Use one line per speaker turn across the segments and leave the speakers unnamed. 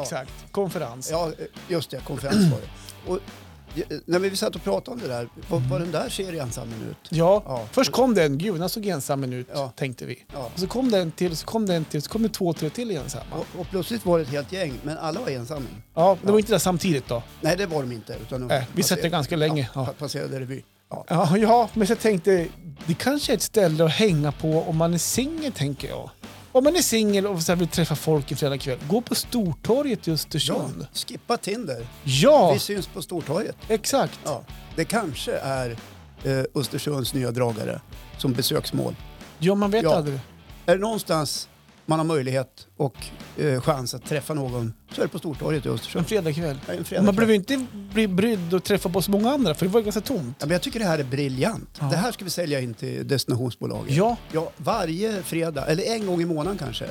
exakt. Konferens.
Ja, eh, just det, konferens var det. Och, eh, när vi satt och pratade om det där, vad vad den där ser ensam ut?
Ja.
Ja.
först kom den, gud den såg ensam ut,
Ja.
tänkte vi.
Ja.
Och så kom den till, så kom den till, så kom det två, tre till ensamma.
Och, och plötsligt var det ett helt gäng, men alla var ensamma.
Ja, det
Ja.
var inte där samtidigt då.
Nej, det var de inte. Utan de
Nej, Äh, vi satt där
passerade-
ganska länge.
Ja,
Ja. Äh,
pa- passerade revy. Ja.
Ja, ja, men så tänkte jag, det kanske är ett ställe att hänga på om man är singel, tänker jag. Om man är singel och så här vill träffa folk en fredagkväll, gå på Stortorget i
Ja,
Östersund.
skippa Tinder.
Ja,
Vi syns på Stortorget.
exakt.
Ja. Det kanske är eh, Östersunds nya dragare som besöksmål.
Ja, man vet
Ja.
aldrig.
Är det någonstans man har möjlighet och eh, chans att träffa någon så är det på Stortorget i
En
Östersund.
fredagkväll.
Ja, en fredag.
Och Man behöver inte bli brydd och träffa på så många andra, för det var ju ganska tomt.
Ja, men jag tycker det här är briljant.
Ja.
Det här ska vi sälja in till destinationsbolaget.
Ja,
Ja, varje fredag, eller en gång i månaden kanske.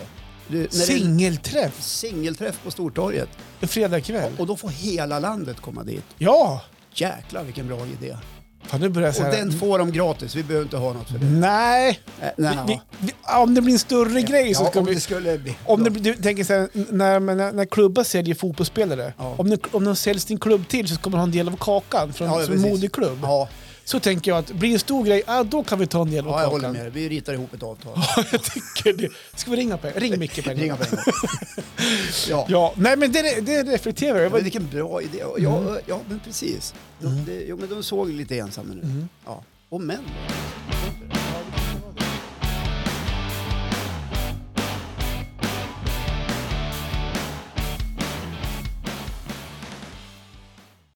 Du, när det är
singelträff
singelträff på Stortorget.
en fredagkväll.
Och då får hela landet komma dit.
Ja!
Jäklar vilken bra idé.
Fan, nu börjar jag
Och
säga...
den får de gratis, vi behöver inte ha något för det.
Nej!
Äh,
Vi,
nej,
vi, vi, ja, om det blir en större grej så
ja,
ska
om
vi...
det skulle bli...
Om det, du tänker så här, när, när, när klubbar säljer fotbollsspelare,
Ja.
om, de, om de säljer sin klubb till så kommer de ha en del av kakan från
Ja, ja,
som
precis.
moderklubb.
Ja,
Så tänker jag att blir det en stor grej, ja, då kan vi ta en del av
ja, jag håller
kakan.
med dig. Vi ritar ihop ett avtal.
jag tycker det. Ska vi ringa på Ring Micke på en gång.
Ringa på en gång. Ja.
Ja, nej men det, det reflekterar jag
Men
över.
vilken bra idé. Ja, ja, ja men precis. De, det- jo, men de såg lite ensamma nu. Ja. Och män. då?